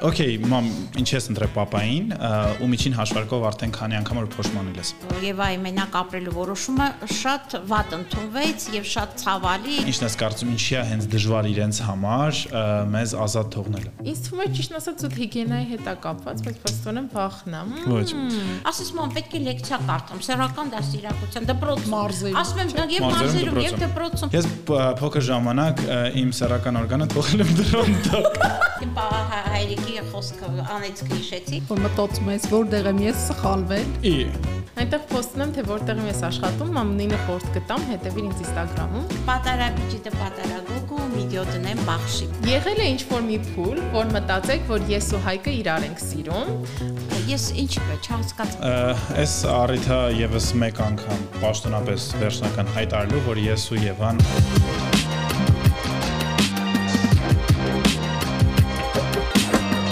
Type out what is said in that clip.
Okay, մամ, ինչ ես ընտրե papayin, ու միջին հաշվարկով արդեն քանի անգամ որ փոշմանել ես։ Եվ այ մենակ ապրելու որոշումը շատ վատ ընդունվեց եւ շատ ցավալի։ Ինչն ես կարծում, ինչի է հենց դժվար իրենց համար ը, մեզ ազատ թողնելը։ Ինձ թվում է ճիշտ ասած այդ հիգիենայի հետ է կապված, բայց փաստորեն վախն եմ։ Ոչ։ Ասես մամ, պետք է լեկցիա կարդամ, սեռական դասի իրականության դպրոցում։ Մարզերում, Ասում եմ, դա եւ Մարզերում, մարզերում, եւ դպրոցում։ դպրոցում։ Ես բ- փոքր ժամանակ ը, իմ սեռական օրգանը թողել եմ դրոնտը։ Իմ պա- հա- հայրիկի խոսքը անեցքը հիշեցի։ որ մտածում ես որտեղ եմ ես սխալվել Ի, Այնտեղ post-ն եմ, թե որտեղ եմ ես աշխատում, մամնինը խորտ կտամ, հետևիր ինձ Instagram-ում։ Պատարաբիջիտը պատարագոգու միդիոտն եմ բախշի։ Եղել է ինչ-որ մի փուլ, որ մտածեք, որ ես ու Հայկը իրար ենք սիրում։ Ես ինչ չհասկացա։ ը, այս առիթը եւս մեկ անգամ պաշտոնապես վերջնական հայտարարելու, որ ես ու Եվան